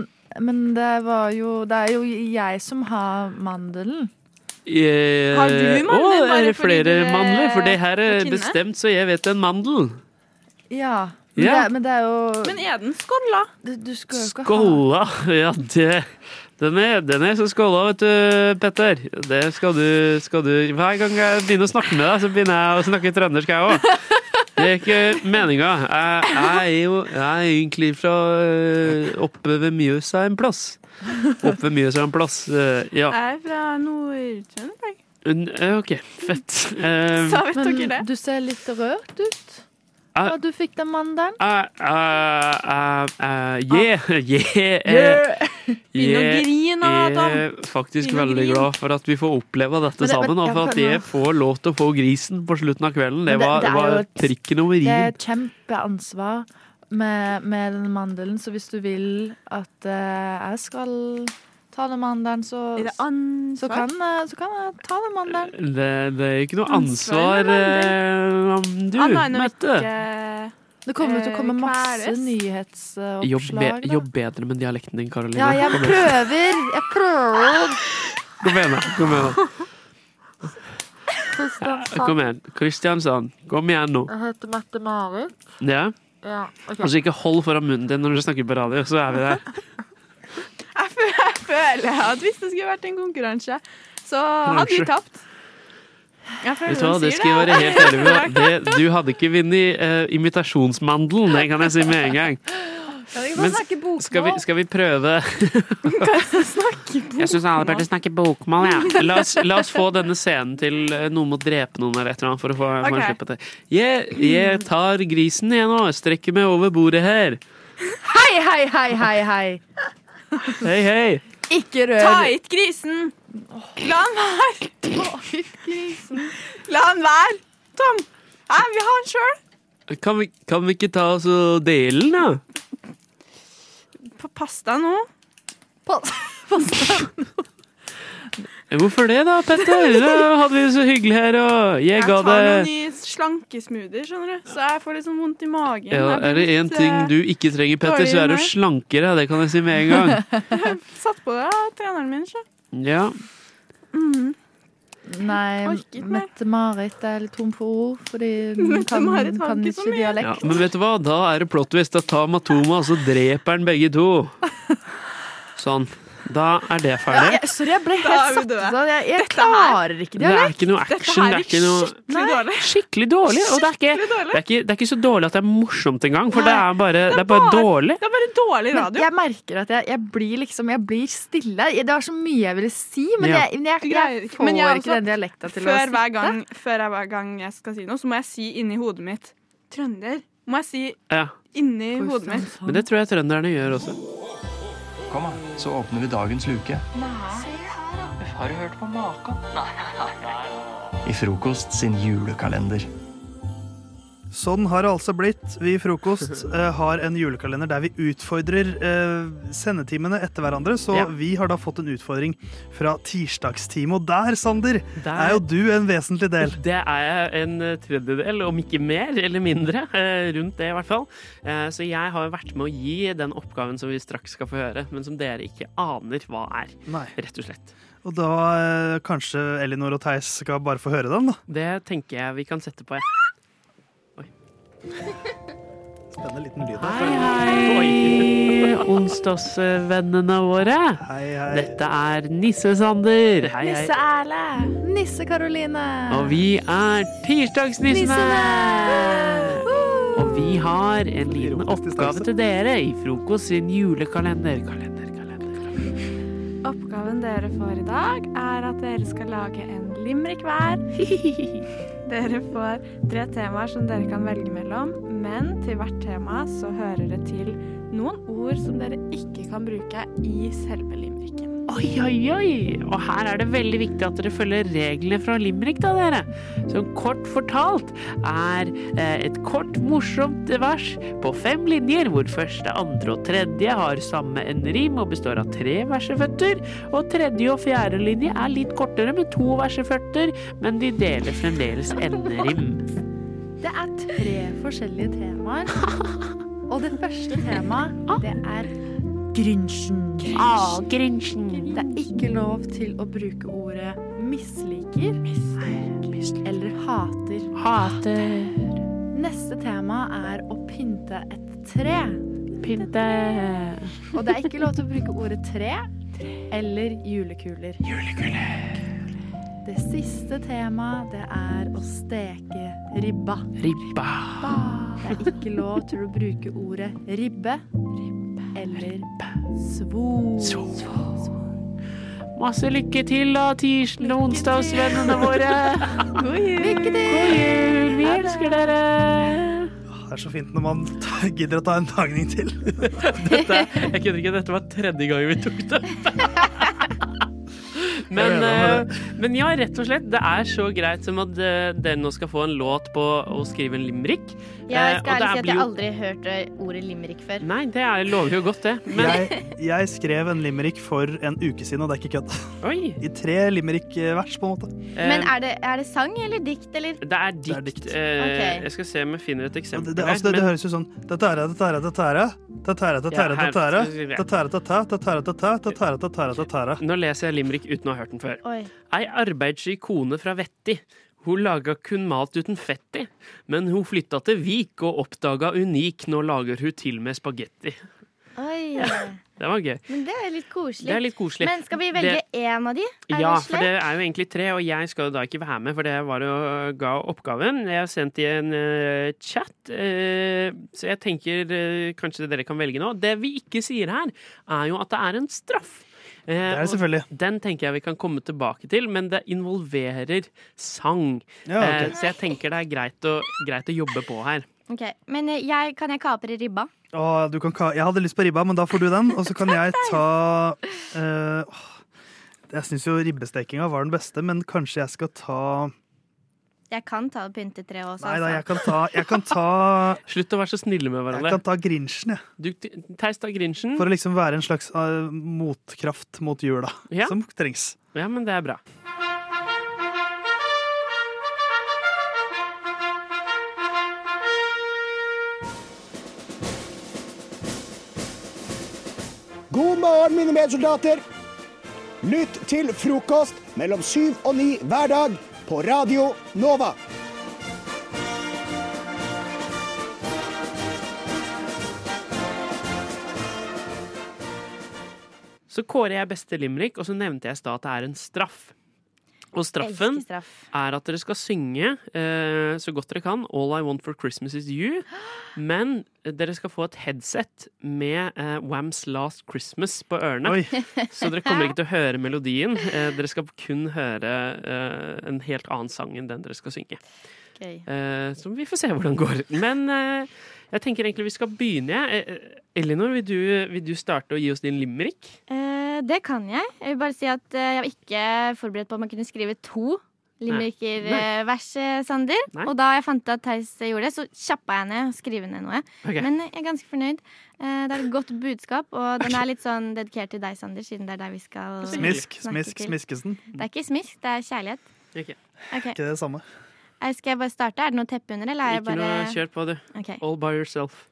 Speaker 20: men det var jo Det er jo jeg som har mandelen.
Speaker 17: Eh,
Speaker 20: Har du mandel
Speaker 17: å,
Speaker 20: bare
Speaker 17: er det
Speaker 20: fordi
Speaker 17: flere
Speaker 20: du er
Speaker 17: mandler? For det her er
Speaker 20: kvinne?
Speaker 17: bestemt, så jeg vet en mandel.
Speaker 20: Ja. Men,
Speaker 17: Ja.
Speaker 20: Det, men det er jo
Speaker 10: Men er den skåla?
Speaker 20: Du, du skal jo ikke
Speaker 17: Skåla! Ja, det den er, den er så skåla, vet du, Petter. Det skal du, skal du Hver gang jeg begynner å snakke med deg, så begynner jeg å snakke trøndersk, jeg òg. Det er ikke meninga. Jeg, jeg er jo jeg er egentlig fra eh, oppe ved Mjøsa en plass. Oppe ved Mjøsa en plass, eh, ja.
Speaker 10: Jeg er fra Nord-Trøndelag.
Speaker 17: En- eh, OK, fett. Eh,
Speaker 10: Så vet
Speaker 20: Men
Speaker 10: dere det.
Speaker 20: Du ser litt rørt ut.
Speaker 17: Jeg-
Speaker 20: Ja, du fikk den mandelen.
Speaker 17: Eh, eh, eh, Yeah, yeah.
Speaker 20: Yeah.
Speaker 10: Begynn å grine, Adam.
Speaker 17: Jeg er faktisk
Speaker 10: Begynn å
Speaker 17: veldig
Speaker 10: grine.
Speaker 17: glad for at vi får oppleve dette
Speaker 20: Men det-
Speaker 17: sammen, og
Speaker 20: ja,
Speaker 17: for
Speaker 20: for
Speaker 17: at jeg
Speaker 20: nå-
Speaker 17: får lov til å få grisen på slutten av kvelden. Det
Speaker 20: Men det-
Speaker 17: var,
Speaker 20: det er
Speaker 17: var
Speaker 20: jo et-
Speaker 17: prikken over
Speaker 20: Det er
Speaker 17: i-en.
Speaker 20: et kjempeansvar med, med den mandelen, så hvis du vil at eh, jeg skal Ta den mandelen, så, så, kan, eh, så kan jeg ta den mandelen.
Speaker 17: Det, det er ikke noe
Speaker 20: Ansvar,
Speaker 17: ansvar, eh, du,
Speaker 20: Han har nå
Speaker 17: Mette.
Speaker 20: Det kommer til
Speaker 21: Eh,
Speaker 20: å komme masse
Speaker 10: kveles.
Speaker 17: Jobb, be,
Speaker 20: nyhetsoppslag. da.
Speaker 17: jobb bedre med dialekten din, Karoline.
Speaker 20: Ja, jeg
Speaker 17: Kom igjen.
Speaker 20: prøver! Jeg prøver!
Speaker 17: Kom igjen, da. Kom igjen, da.
Speaker 21: Tusen takk.
Speaker 17: Kom igjen. Kristiansand, kom igjen nå.
Speaker 21: Jeg heter Mette-Marit.
Speaker 17: Ja.
Speaker 21: Ja, ok.
Speaker 17: Altså, ikke hold foran munnen din når du snakker på radio, så er vi der.
Speaker 10: Jeg føler at hvis det skulle vært en konkurranse, så hadde vi
Speaker 17: Konkurranse.
Speaker 10: tapt. Jeg føler
Speaker 17: Vet du hva,
Speaker 10: hun
Speaker 17: det
Speaker 10: sier
Speaker 17: skal jeg være helt ærlig med. Det, du hadde ikke vunnet eh, imitasjonsmandelen, det kan jeg si med en gang.
Speaker 20: Kan vi ikke
Speaker 17: Men
Speaker 20: bare snakke bokmål?
Speaker 17: Skal vi, skal vi prøve Jeg syns alle burde snakke bokmål, jeg. Ja. La, oss- la oss få denne scenen til eh, noen må drepe noen eller et eller annet for å få for å
Speaker 10: Ok.
Speaker 17: slippe det. Jeg, jeg tar grisen igjen nå, strekker meg over bordet her.
Speaker 20: Hei, hei, hei, hei, hei!
Speaker 17: Hei, hei.
Speaker 20: Ikke rør
Speaker 10: Ta hit grisen! La han være! La han være! Tom! Nei, vi har han sjøl.
Speaker 17: Kan vi, kan vi ikke ta oss og dele den, da?
Speaker 10: Pass deg nå. Pass deg.
Speaker 17: Hvorfor det, da, Petter? Da hadde vi det så hyggelig her, og jeg ga
Speaker 10: tar
Speaker 17: det
Speaker 10: noen i slankesmoothier, skjønner du. Så jeg får litt sånn vondt i magen.
Speaker 17: Ja,
Speaker 10: Jeg blir
Speaker 17: er det én
Speaker 10: litt,
Speaker 17: ting
Speaker 10: eh,
Speaker 17: du ikke trenger, Petter,
Speaker 10: dårlig
Speaker 17: så er du
Speaker 10: humør.
Speaker 17: slankere. Det kan jeg si med en gang.
Speaker 10: Satt på det av treneren min, sjø.
Speaker 17: Ja.
Speaker 10: Mhm.
Speaker 20: Nei, Mette-Marit det er litt tom for ord, fordi hun kan,
Speaker 10: Mette-Marit har
Speaker 20: kan
Speaker 10: ikke
Speaker 20: ikke dialekt.
Speaker 17: ja. Men vet du hva? Da er det plot twist. Da tar Matoma, og så dreper han begge to. Sånn. Da er det
Speaker 20: Ja,
Speaker 17: ferdig.
Speaker 20: jeg, sorry, jeg ble
Speaker 10: Da er
Speaker 20: helt
Speaker 10: vi
Speaker 20: satt ut
Speaker 10: døde.
Speaker 20: av det. Jeg, jeg klarer ikke
Speaker 17: Det er
Speaker 20: dialekt.
Speaker 17: ikke noe action. Det er ikke noe Skikkelig dårlig. Og det er, ikke, det, er ikke, det er ikke så dårlig at det er morsomt engang, for det er bare, det er bare dårlig.
Speaker 10: Det er bare dårlig
Speaker 20: radio. jeg merker at jeg, jeg blir liksom Jeg blir stille. Jeg- Det var så mye jeg ville si, men
Speaker 17: Ja.
Speaker 20: jeg, men jeg,
Speaker 10: Du greier
Speaker 20: jeg
Speaker 10: ikke.
Speaker 20: får
Speaker 10: Men jeg
Speaker 20: ikke
Speaker 10: også-
Speaker 20: den dialekta til å
Speaker 10: før
Speaker 20: sitte.
Speaker 10: hver, gang, før jeg, hver gang jeg skal si noe, så må jeg si inni hodet mitt Trønder. Må jeg si
Speaker 17: Ja.
Speaker 10: inni hodet mitt.
Speaker 17: Men det tror jeg trønderne gjør også.
Speaker 1: Kom, da. Så åpner vi dagens luke.
Speaker 2: Har du hørt på maken? Nei, nei, nei.
Speaker 1: I Frokost sin julekalender.
Speaker 6: Sånn har det altså blitt. Vi i Frokost eh, har en julekalender der vi utfordrer eh, sendetimene etter hverandre. Så
Speaker 17: Ja.
Speaker 6: vi har da fått en utfordring fra tirsdagsteamet. Og der, Sander,
Speaker 17: Der.
Speaker 6: er jo du en vesentlig del.
Speaker 17: Det er jeg en tredjedel, om ikke mer eller mindre, eh, rundt det i hvert fall. Eh, Så jeg har vært med å gi den oppgaven som vi straks skal få høre, men som dere ikke aner hva er, rett og slett.
Speaker 6: Og da eh, kanskje Elinor og Theis skal bare få høre den, da.
Speaker 17: Det tenker jeg vi kan sette på.
Speaker 6: Spennende liten lyd.
Speaker 17: Hei, hei, onsdagsvennene våre. Dette er Nisse-Sander. Hei,
Speaker 20: Nisse
Speaker 17: hei.
Speaker 20: Erle. Nisse Karoline.
Speaker 17: Og vi er Tirsdagsnissene! Og vi har en liten oppgave til dere i Frokost sin julekalender. Kalender.
Speaker 10: Oppgaven dere får i dag, er at dere skal lage en limerick hver. Dere får tre temaer som dere kan velge mellom, men til hvert tema så hører det til noen ord som dere ikke kan bruke i selve limericken.
Speaker 17: Oi, oi, oi! Og her er det veldig viktig at dere følger reglene fra Limerick, da, dere. Som kort fortalt er eh, et kort, morsomt vers på fem linjer, hvor første, andre og tredje har samme en rim og består av tre verseføtter. Og tredje og fjerde linje er litt kortere med to verseføtter, men de deler fremdeles enderim.
Speaker 20: Det er tre forskjellige temaer. Og det første temaet, det er Grinchen.
Speaker 17: Ah, Grinchen.
Speaker 20: Det er ikke lov til å bruke ordet misliker, eller hater.
Speaker 17: Hater.
Speaker 20: Neste tema er å pynte et tre.
Speaker 17: Pynte.
Speaker 20: Og det er ikke lov til å bruke ordet tre eller julekuler. Julekuler. Det siste temaet, det er å steke ribba.
Speaker 17: Ribba.
Speaker 20: Det er ikke lov til å bruke ordet ribbe eller svor.
Speaker 17: Masse lykke til, da, tirsdag- og onsdagsvennene våre.
Speaker 20: God jul! Lykke til!
Speaker 17: God jul! Vi elsker dere!
Speaker 6: Det er så fint når man ta- gidder å ta en tagning til.
Speaker 17: Dette, jeg kødder ikke, dette var tredje gang vi tok det.
Speaker 22: Jeg er enig
Speaker 17: Men,
Speaker 22: med
Speaker 17: eh, men ja, rett og slett. Det er så greit som at eh, dere nå skal få en låt på å skrive en limerick.
Speaker 23: Jeg
Speaker 17: Eh, og
Speaker 23: skal
Speaker 17: det
Speaker 23: ærlig si at
Speaker 17: blir
Speaker 23: jeg
Speaker 17: jo-
Speaker 23: aldri har hørt eh, ordet limerick før.
Speaker 17: Nei, det er, lover jo godt, det.
Speaker 6: Jeg, jeg skrev en limerick for en uke siden, og det er ikke kødd. I tre limerick-vers, på en måte.
Speaker 17: Eh,
Speaker 23: Men er det, er det sang eller dikt, eller?
Speaker 17: Det er dikt. Eh, Jeg skal se om jeg finner et eksempel.
Speaker 6: Det, det, altså, det, det høres jo sånn Dette er det, dette er det, dette er det. Dette er det, dette er det, dette er det. Dette er det, dette er det, dette er det, dette er det, dette er det, dette er det, dette er det.
Speaker 17: Nå leser jeg limerick uten å ha hørt den før.
Speaker 23: Oi.
Speaker 17: Ei arbeidssky kone fra Vetti. Hun laga kun mat uten fett i, men hun flytta til Vik og oppdaga Unik. Nå lager hun til med spagetti.
Speaker 23: Oi.
Speaker 17: Det var gøy.
Speaker 23: Men det er litt koselig.
Speaker 17: Det er litt koselig.
Speaker 23: Men skal vi velge
Speaker 17: Det-
Speaker 23: én av de? Er
Speaker 17: Ja,
Speaker 23: det
Speaker 17: for det er jo egentlig tre, og jeg skal jo da ikke være med, for det var jo ga oppgaven. Jeg har sendt i en eh, chat, eh, så jeg tenker eh, kanskje dere kan velge nå. Det vi ikke sier her, er jo at det er en straff. Eh,
Speaker 6: er det
Speaker 17: og Den tenker jeg vi kan komme tilbake til, men det involverer sang.
Speaker 23: Ja, ok.
Speaker 17: Eh, Så jeg tenker det er greit å, greit å jobbe på her.
Speaker 23: Ok, Men eh, jeg, kan jeg kapre ribba?
Speaker 6: Å, du kan ka Jeg hadde lyst på ribba, men da får du den. Og så kan jeg ta eh, åh. Jeg syns jo ribbestekinga var den beste, men kanskje jeg skal ta
Speaker 23: Jeg kan ta det pyntetre også.
Speaker 6: Nei da,
Speaker 23: altså.
Speaker 6: jeg kan ta, jeg kan ta
Speaker 17: Slutt å være så snille med
Speaker 6: Jeg kan ta Grinchen, jeg.
Speaker 17: Du, Theis tar Grinchen.
Speaker 6: For å liksom være en slags eh, motkraft mot jula, som trengs.
Speaker 17: Ja, men det er bra.
Speaker 24: God morgen, mine medsoldater. Lytt til frokost mellom syv og ni hver dag på Radio Nova.
Speaker 17: Så kårer jeg beste limerick, og så nevnte jeg i stad at det er en straff. Og straffen er at dere skal synge eh, så godt dere kan All I Want for Christmas Is You. Men dere skal få et headset med eh, Whams Last Christmas på ørene.
Speaker 6: Oi.
Speaker 17: Så dere kommer ikke til å høre melodien. Eh, dere skal kun høre eh, en helt annen sang enn den dere skal synge.
Speaker 23: Gøy.
Speaker 17: Eh, så vi får se hvordan det går. Men eh, jeg tenker egentlig vi skal begynne. jeg. Eh, Elinor, vil du, vil du starte å gi oss din limerick?
Speaker 23: Eh, det kan jeg. Jeg vil bare si at eh, jeg var ikke forberedt på om jeg kunne skrive to
Speaker 17: Nei.
Speaker 23: limerickervers, eh, Sander.
Speaker 17: Nei.
Speaker 23: Og da jeg fant at Theis gjorde det, så kjappa jeg ned og skrev ned noe.
Speaker 17: Ok.
Speaker 23: Men jeg er ganske fornøyd. Eh, det er et godt budskap, og den er litt sånn dedikert til deg, Sander, siden det er deg vi skal
Speaker 6: Smisk,
Speaker 23: snakke
Speaker 6: smisk,
Speaker 23: til.
Speaker 6: smiskesen.
Speaker 23: Det er ikke smisk, det er kjærlighet. Ok.
Speaker 6: Ikke det samme.
Speaker 23: Eh, Skal jeg bare starte? Er det noe teppe under, eller er jeg
Speaker 17: Ikke
Speaker 23: bare
Speaker 17: noe kjør på, du.
Speaker 23: Ok.
Speaker 17: All by yourself.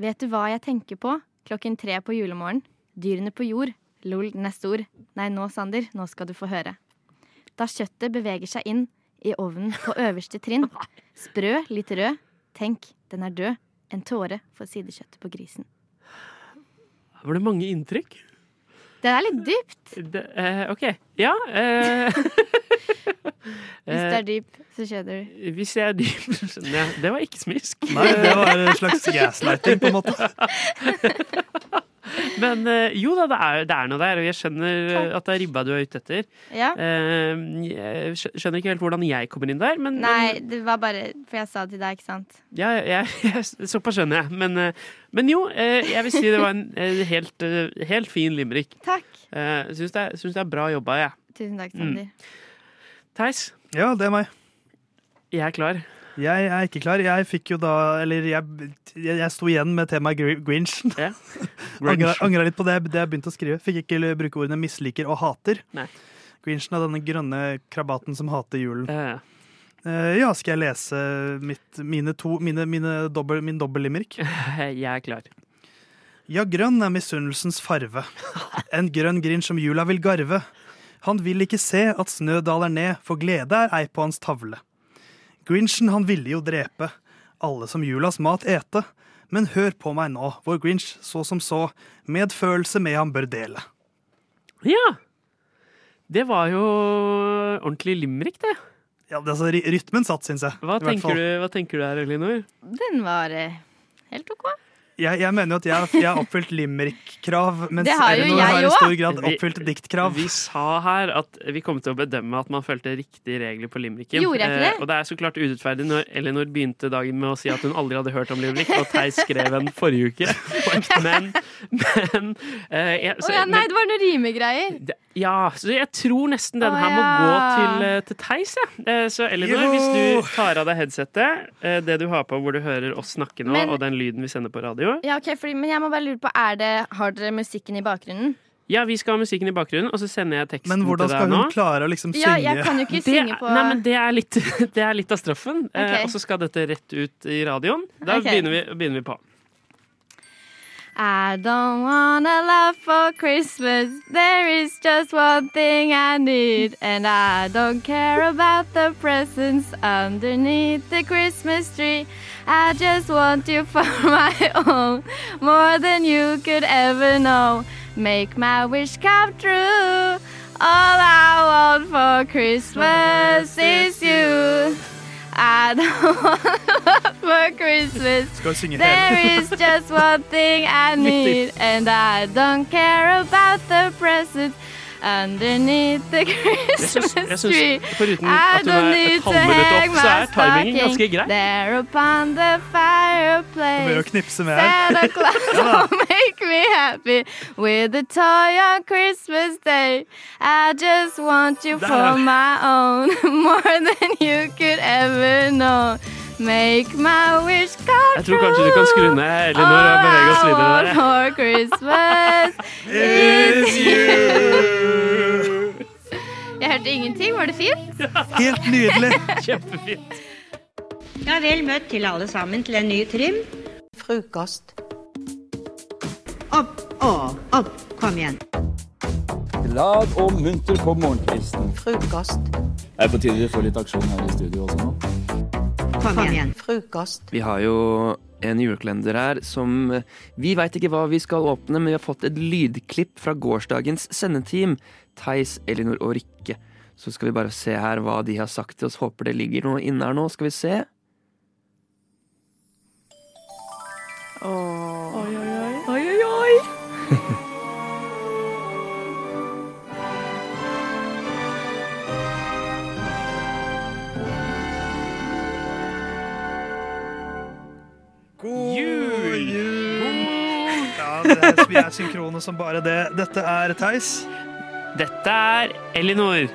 Speaker 23: Vet du hva jeg tenker på klokken tre på julemorgen? Dyrene på jord. Lol, neste ord. Nei, nå, Sander, nå skal du få høre. Da kjøttet beveger seg inn i ovnen på øverste trinn. Sprø, litt rød. Tenk, den er død. En tåre for sidekjøttet på grisen.
Speaker 17: Her Var det mange inntrykk?
Speaker 23: Den er litt dyp.
Speaker 17: Det, eh, OK. Ja. eh,
Speaker 23: Hvis du er dyp, så skjønner du.
Speaker 17: eh, hvis jeg er dyp, så skjønner jeg. Det var ikke smisk.
Speaker 6: Nei, det var en slags gaslighting, på en måte.
Speaker 17: Men eh, jo da, det er, det er noe der, og jeg skjønner eh, at det er ribba du er ute etter.
Speaker 23: Ja.
Speaker 17: Eh, jeg skj- skjønner ikke helt hvordan jeg kommer inn der, men,
Speaker 23: Nei,
Speaker 17: men
Speaker 23: det var bare for jeg sa det til deg, ikke sant?
Speaker 17: ja, jeg, jeg, såpass skjønner jeg. Men, eh, men jo, eh, jeg vil si det var en eh, helt, eh, helt fin limerick.
Speaker 23: Takk.
Speaker 17: Uh, Syns det, er- syns det er bra jobba, jeg.
Speaker 23: Tusen takk,
Speaker 17: Mm.
Speaker 23: Sander.
Speaker 17: Theis?
Speaker 6: Ja, det er meg.
Speaker 17: Jeg er klar.
Speaker 6: Jeg er ikke klar. Jeg fikk jo da Eller jeg, jeg, jeg sto igjen med temaet Gr- Grinchen.
Speaker 17: Yeah.
Speaker 6: Angra angra litt på det, det jeg begynte å skrive. Fikk ikke l- bruke ordene misliker og hater.
Speaker 17: Nei.
Speaker 6: Grinchen er denne grønne krabaten som hater julen. Eh, ja, skal jeg lese mitt, mine to, mine, mine dobbel, min dobbellimerick?
Speaker 17: Jeg er klar.
Speaker 6: Ja, grønn er misunnelsens farve. En grønn grind som jula vil garve. Han vil ikke se at snø daler ned, for glede er ei på hans tavle. Grinchen han ville jo drepe, alle som julas mat ete. Men hør på meg nå, vår Grinch så som så, medfølelse med ham bør dele.
Speaker 17: Ja! Det var jo ordentlig limerick, det.
Speaker 6: Ja, det er så ry- Rytmen satt, syns jeg. i
Speaker 17: Hva
Speaker 6: hvert fall.
Speaker 17: tenker, du, hva tenker du her, Elinor?
Speaker 23: Den var eh, helt OK.
Speaker 6: jeg, jeg mener jo at jeg, jeg har oppfylt limerick-krav, mens
Speaker 11: Det har jo
Speaker 6: Elinor
Speaker 11: jeg
Speaker 6: har i
Speaker 11: også.
Speaker 6: stor grad
Speaker 17: Vi-
Speaker 6: oppfylt diktkrav.
Speaker 17: Vi sa her at vi kom til å bedømme at man fulgte riktige regler på limericken.
Speaker 6: Gjorde jeg ikke det?
Speaker 17: Eh, og det er så klart urettferdig når Elinor begynte dagen med å si at hun aldri hadde hørt om limerick, og Theis skrev en forrige uke. Men, men eh, jeg, så,
Speaker 20: Å ja, nei,
Speaker 17: men-
Speaker 20: det var noen rimegreier.
Speaker 17: Det- Ja, så jeg tror nesten denne
Speaker 20: Å,
Speaker 17: her må gå
Speaker 20: ja.
Speaker 17: til, eh, til Theis, jeg. Eh, Så Elinor,
Speaker 20: Jo.
Speaker 17: hvis du tar av deg headsetet, eh, det du har på hvor du hører oss snakke nå,
Speaker 25: Men-
Speaker 17: og den lyden vi sender på radio
Speaker 25: Ja, ok, fordi, Men jeg må bare lure på, er det, har dere musikken i bakgrunnen?
Speaker 17: Ja, vi skal ha musikken i bakgrunnen, og så sender jeg teksten
Speaker 6: Men hvordan
Speaker 17: til
Speaker 6: skal
Speaker 17: deg nå.
Speaker 6: hun klare å liksom synge?
Speaker 25: Ja, jeg kan jo ikke
Speaker 17: Det-
Speaker 25: synge på
Speaker 17: Nei, men det er litt, det er litt av straffen. Eh,
Speaker 25: Ok.
Speaker 17: og så skal dette rett ut i radioen. Da
Speaker 25: Ok.
Speaker 17: begynner, vi, begynner vi på.
Speaker 25: I don't wanna love for Christmas. There is just one thing I need, and I don't care about the presents underneath the Christmas tree. I just want you for my own, more than you could ever know. Make my wish come true. All I want for Christmas is you. I don't want for Christmas.
Speaker 6: Skal synge
Speaker 25: There
Speaker 6: hele.
Speaker 25: is just one thing I need, and I don't care about the present underneath the Christmas
Speaker 17: jeg syns-
Speaker 25: tree.
Speaker 17: foruten
Speaker 25: I
Speaker 17: at hun
Speaker 25: don't
Speaker 17: er et
Speaker 25: need to
Speaker 17: halvminutt opp,
Speaker 25: hang
Speaker 17: så
Speaker 25: my
Speaker 17: er timingen ganske
Speaker 25: stocking
Speaker 17: grei.
Speaker 25: there upon the
Speaker 6: Du bør jo
Speaker 25: fireplace.
Speaker 6: knipse med
Speaker 25: Santa
Speaker 6: her.
Speaker 25: Claus will make me happy with a toy on Christmas Day. I just want you
Speaker 6: Der,
Speaker 25: for
Speaker 6: ja.
Speaker 25: my own, more than you could ever know. Make my wish come
Speaker 17: Jeg tror kanskje du kan skru ned Elinor og bevege oss videre der.
Speaker 25: for Christmas
Speaker 17: It's
Speaker 25: you. Jeg hørte ingenting. Var det fint?
Speaker 6: Helt nydelig.
Speaker 17: Kjempefint.
Speaker 23: Ja, vel møtt til alle sammen til en ny trim. Frokost. Opp og opp. Kom igjen.
Speaker 26: Glad og munter på morgenkvisten.
Speaker 23: Frokost.
Speaker 26: Det er på tide vi får litt aksjon her i studio også nå.
Speaker 23: Kom, igjen. Frokost.
Speaker 3: Vi har jo en julekalender her som eh, Vi veit ikke hva vi skal åpne, men vi har fått et lydklipp fra gårsdagens sendeteam. Theis, Elinor og Rikke. Så skal vi bare se her hva de har sagt til oss. Håper det ligger noe inne her nå. Skal vi se.
Speaker 11: Oi, oi, oi. oi, oi, oi.
Speaker 6: God jul! Ja, det er, vi er synkrone som bare det. Dette er Theis.
Speaker 17: Dette er Elinor.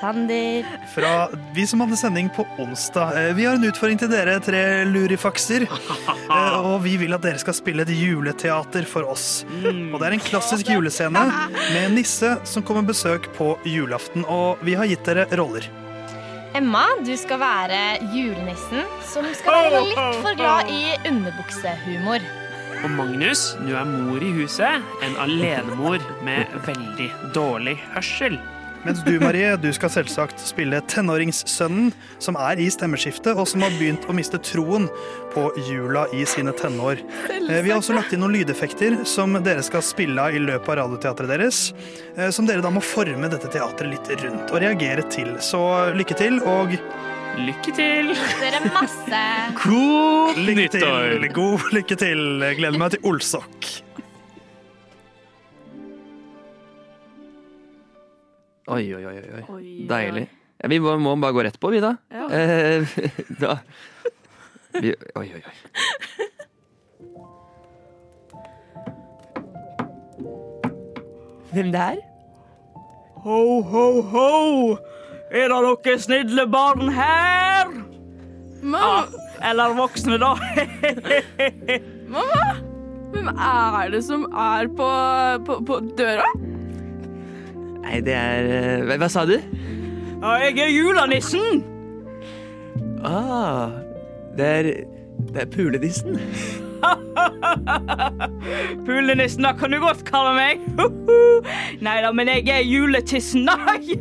Speaker 25: Sander.
Speaker 6: Fra vi som hadde sending på onsdag. Eh, Vi har en utfordring til dere tre lurifakser. Eh, Og vi vil at dere skal spille et juleteater for oss.
Speaker 17: Mm.
Speaker 6: Og det er en klassisk julescene med en nisse som kommer besøk på julaften. Og vi har gitt dere roller.
Speaker 25: Emma, du skal være julenissen som skal være litt for glad i underbuksehumor.
Speaker 17: Og Magnus, du er mor i huset. En alenemor med veldig dårlig hørsel.
Speaker 6: Mens du, Marie, du skal selvsagt spille tenåringssønnen som er i stemmeskiftet, og som har begynt å miste troen på jula i sine tenår. Eh, Vi har også lagt inn noen lydeffekter som dere skal spille av i løpet av radioteatret deres, eh, som dere da må forme dette teatret litt rundt og reagere til. Så lykke til, og
Speaker 17: Lykke til!
Speaker 25: Dere er masse
Speaker 6: God
Speaker 17: nyttår!
Speaker 6: God lykke til. Jeg gleder meg til Olsok.
Speaker 3: Oi, oi, oi. oi. Deilig. Ja, vi må må bare gå rett på, vi, da.
Speaker 1: Ja.
Speaker 3: Eh, da. Vi, oi, oi, oi.
Speaker 9: Hvem det er? Ho, ho, ho! Er det noen snille barn her?
Speaker 10: Mamma,
Speaker 9: Ah, eller voksne, da.
Speaker 10: mamma! Hvem er det som er på, på, på døra?
Speaker 3: Nei, det er eh, hva, hva sa du?
Speaker 9: Ja, jeg er julenissen.
Speaker 3: Ah, det er Det er pulenissen.
Speaker 9: Pulenissen, da kan du godt kalle meg. Nei da, men jeg er juletissen. Nei,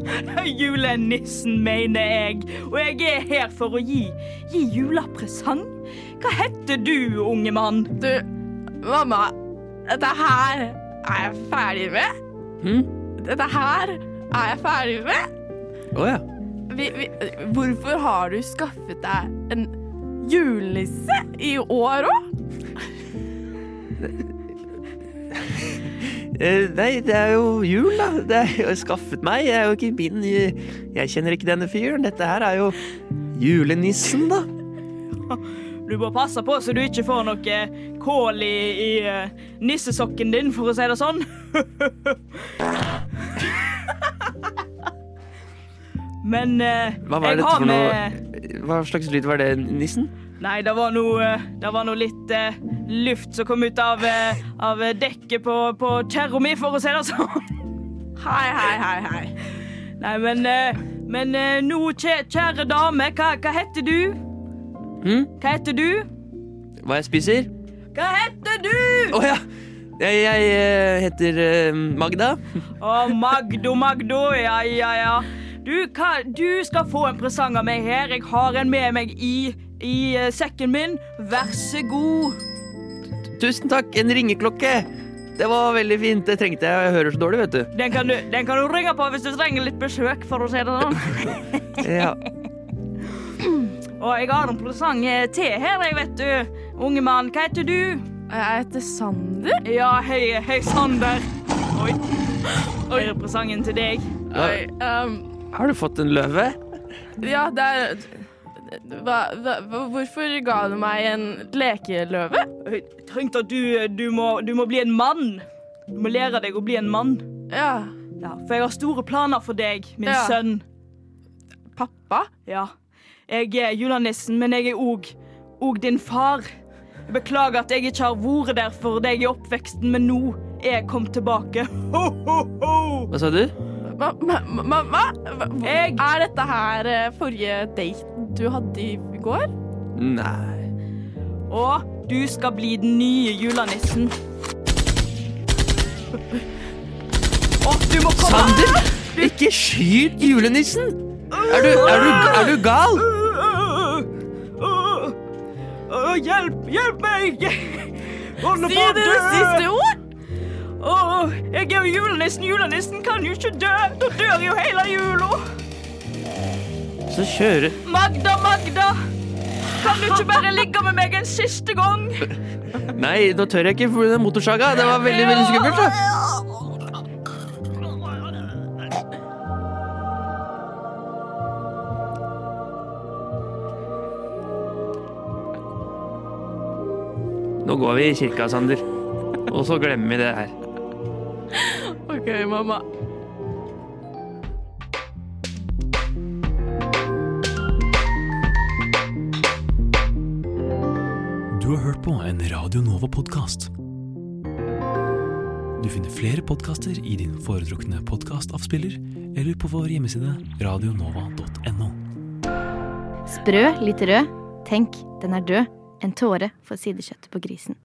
Speaker 9: julenissen, mener jeg. Og jeg er her for å gi, gi julepresang. Hva heter du, unge mann? Du, mamma, dette her
Speaker 10: Er jeg ferdig med?
Speaker 3: Hm?
Speaker 10: Dette her er jeg ferdig med?
Speaker 3: Å ja.
Speaker 10: Vi, vi, hvorfor har du skaffet deg en julenisse i år òg?
Speaker 3: Eh, Nei, det er jo jul, da. Det er jo skaffet meg. Jeg er jo ikke min Jeg kjenner ikke denne fyren. Dette her er jo julenissen, da.
Speaker 9: Du må passe på så du ikke får noe eh, kål i, i eh, nissesokken din, for å si det sånn. Men eh,
Speaker 3: Hva var
Speaker 9: jeg
Speaker 3: dette
Speaker 9: har
Speaker 3: for
Speaker 9: med-
Speaker 3: noe Hva slags lyd var det, nissen?
Speaker 9: Nei, det var noe, eh, det var noe litt eh, luft som kom ut av, eh, av dekket på, på kjerra mi, for å si det sånn. Hei, hei, hei, hei. Nei, men, eh, men eh, nå, kjæ- kjære dame, hva, hva heter du?
Speaker 3: Hm?
Speaker 9: Hva heter du?
Speaker 3: Hva jeg spiser?
Speaker 9: Hva heter du?
Speaker 3: Å ja! Jeg, jeg eh, heter eh, Magda.
Speaker 9: Å, Magdo, Magdo, ja, ja, ja. Du, hva, du skal få en presang av meg her. Jeg har en med meg i, i eh, sekken min. Vær så god.
Speaker 3: Tusen takk, en ringeklokke! Det var veldig fint. Det trengte jeg. Jeg hører så dårlig, vet du.
Speaker 9: Den kan du, den kan du ringe på hvis du trenger litt besøk, for å si det sånn.
Speaker 3: Ja.
Speaker 9: Og jeg har en presang eh, til her, jeg, vet du. Unge mann, hva heter du? Jeg heter Sander. Ja, hei, hei Sander. Oi. Oi. Her er presangen til deg.
Speaker 3: Oi,
Speaker 9: um,
Speaker 3: Har du fått en løve?
Speaker 20: Ja, det er hva, hva, Hvorfor ga du meg en lekeløve?
Speaker 9: Trengte at du, du, må, du må bli en mann. Du må lære deg å bli en mann. Ja. for jeg har store planer for deg, min
Speaker 20: Ja.
Speaker 9: sønn. Pappa? Ja. Jeg er julenissen, men jeg er òg og din far. Jeg beklager at jeg ikke har vært der for deg i oppveksten, men nå er jeg kommet tilbake. Ho, ho, ho!
Speaker 3: Hva sa du?
Speaker 20: Hva? hva- hva- hva- hva- Er dette her eh, forrige daten du hadde i går?
Speaker 3: Nei.
Speaker 9: Og du skal bli den nye julenissen. Å, du må komme!
Speaker 3: Sander! Ikke skyt julenissen! Er du, er du, er du gal?
Speaker 9: Å, hjelp! Hjelp meg! Holder
Speaker 20: Si
Speaker 9: på å
Speaker 20: det
Speaker 9: dø!
Speaker 20: siste ord!
Speaker 9: Å, jeg er jo julenissen. Julenissen kan jo ikke dø. Da dør jo hele jula.
Speaker 3: Så kjører
Speaker 9: Magda, Magda! Kan du ikke bare ligge med meg en siste gang?
Speaker 3: Nei, nå tør jeg ikke for den motorsaga. Det var veldig, veldig skummelt. da. Nå går vi i kirka, Sander. Og så glemmer vi det her.
Speaker 20: OK, mamma.
Speaker 11: Du har hørt på en Radio Nova-podkast. Du finner flere podkaster i din foretrukne podkastavspiller eller på vår hjemmeside radionova.no.
Speaker 23: Sprø, litt rød. Tenk, den er død. En tåre for sidekjøttet på grisen.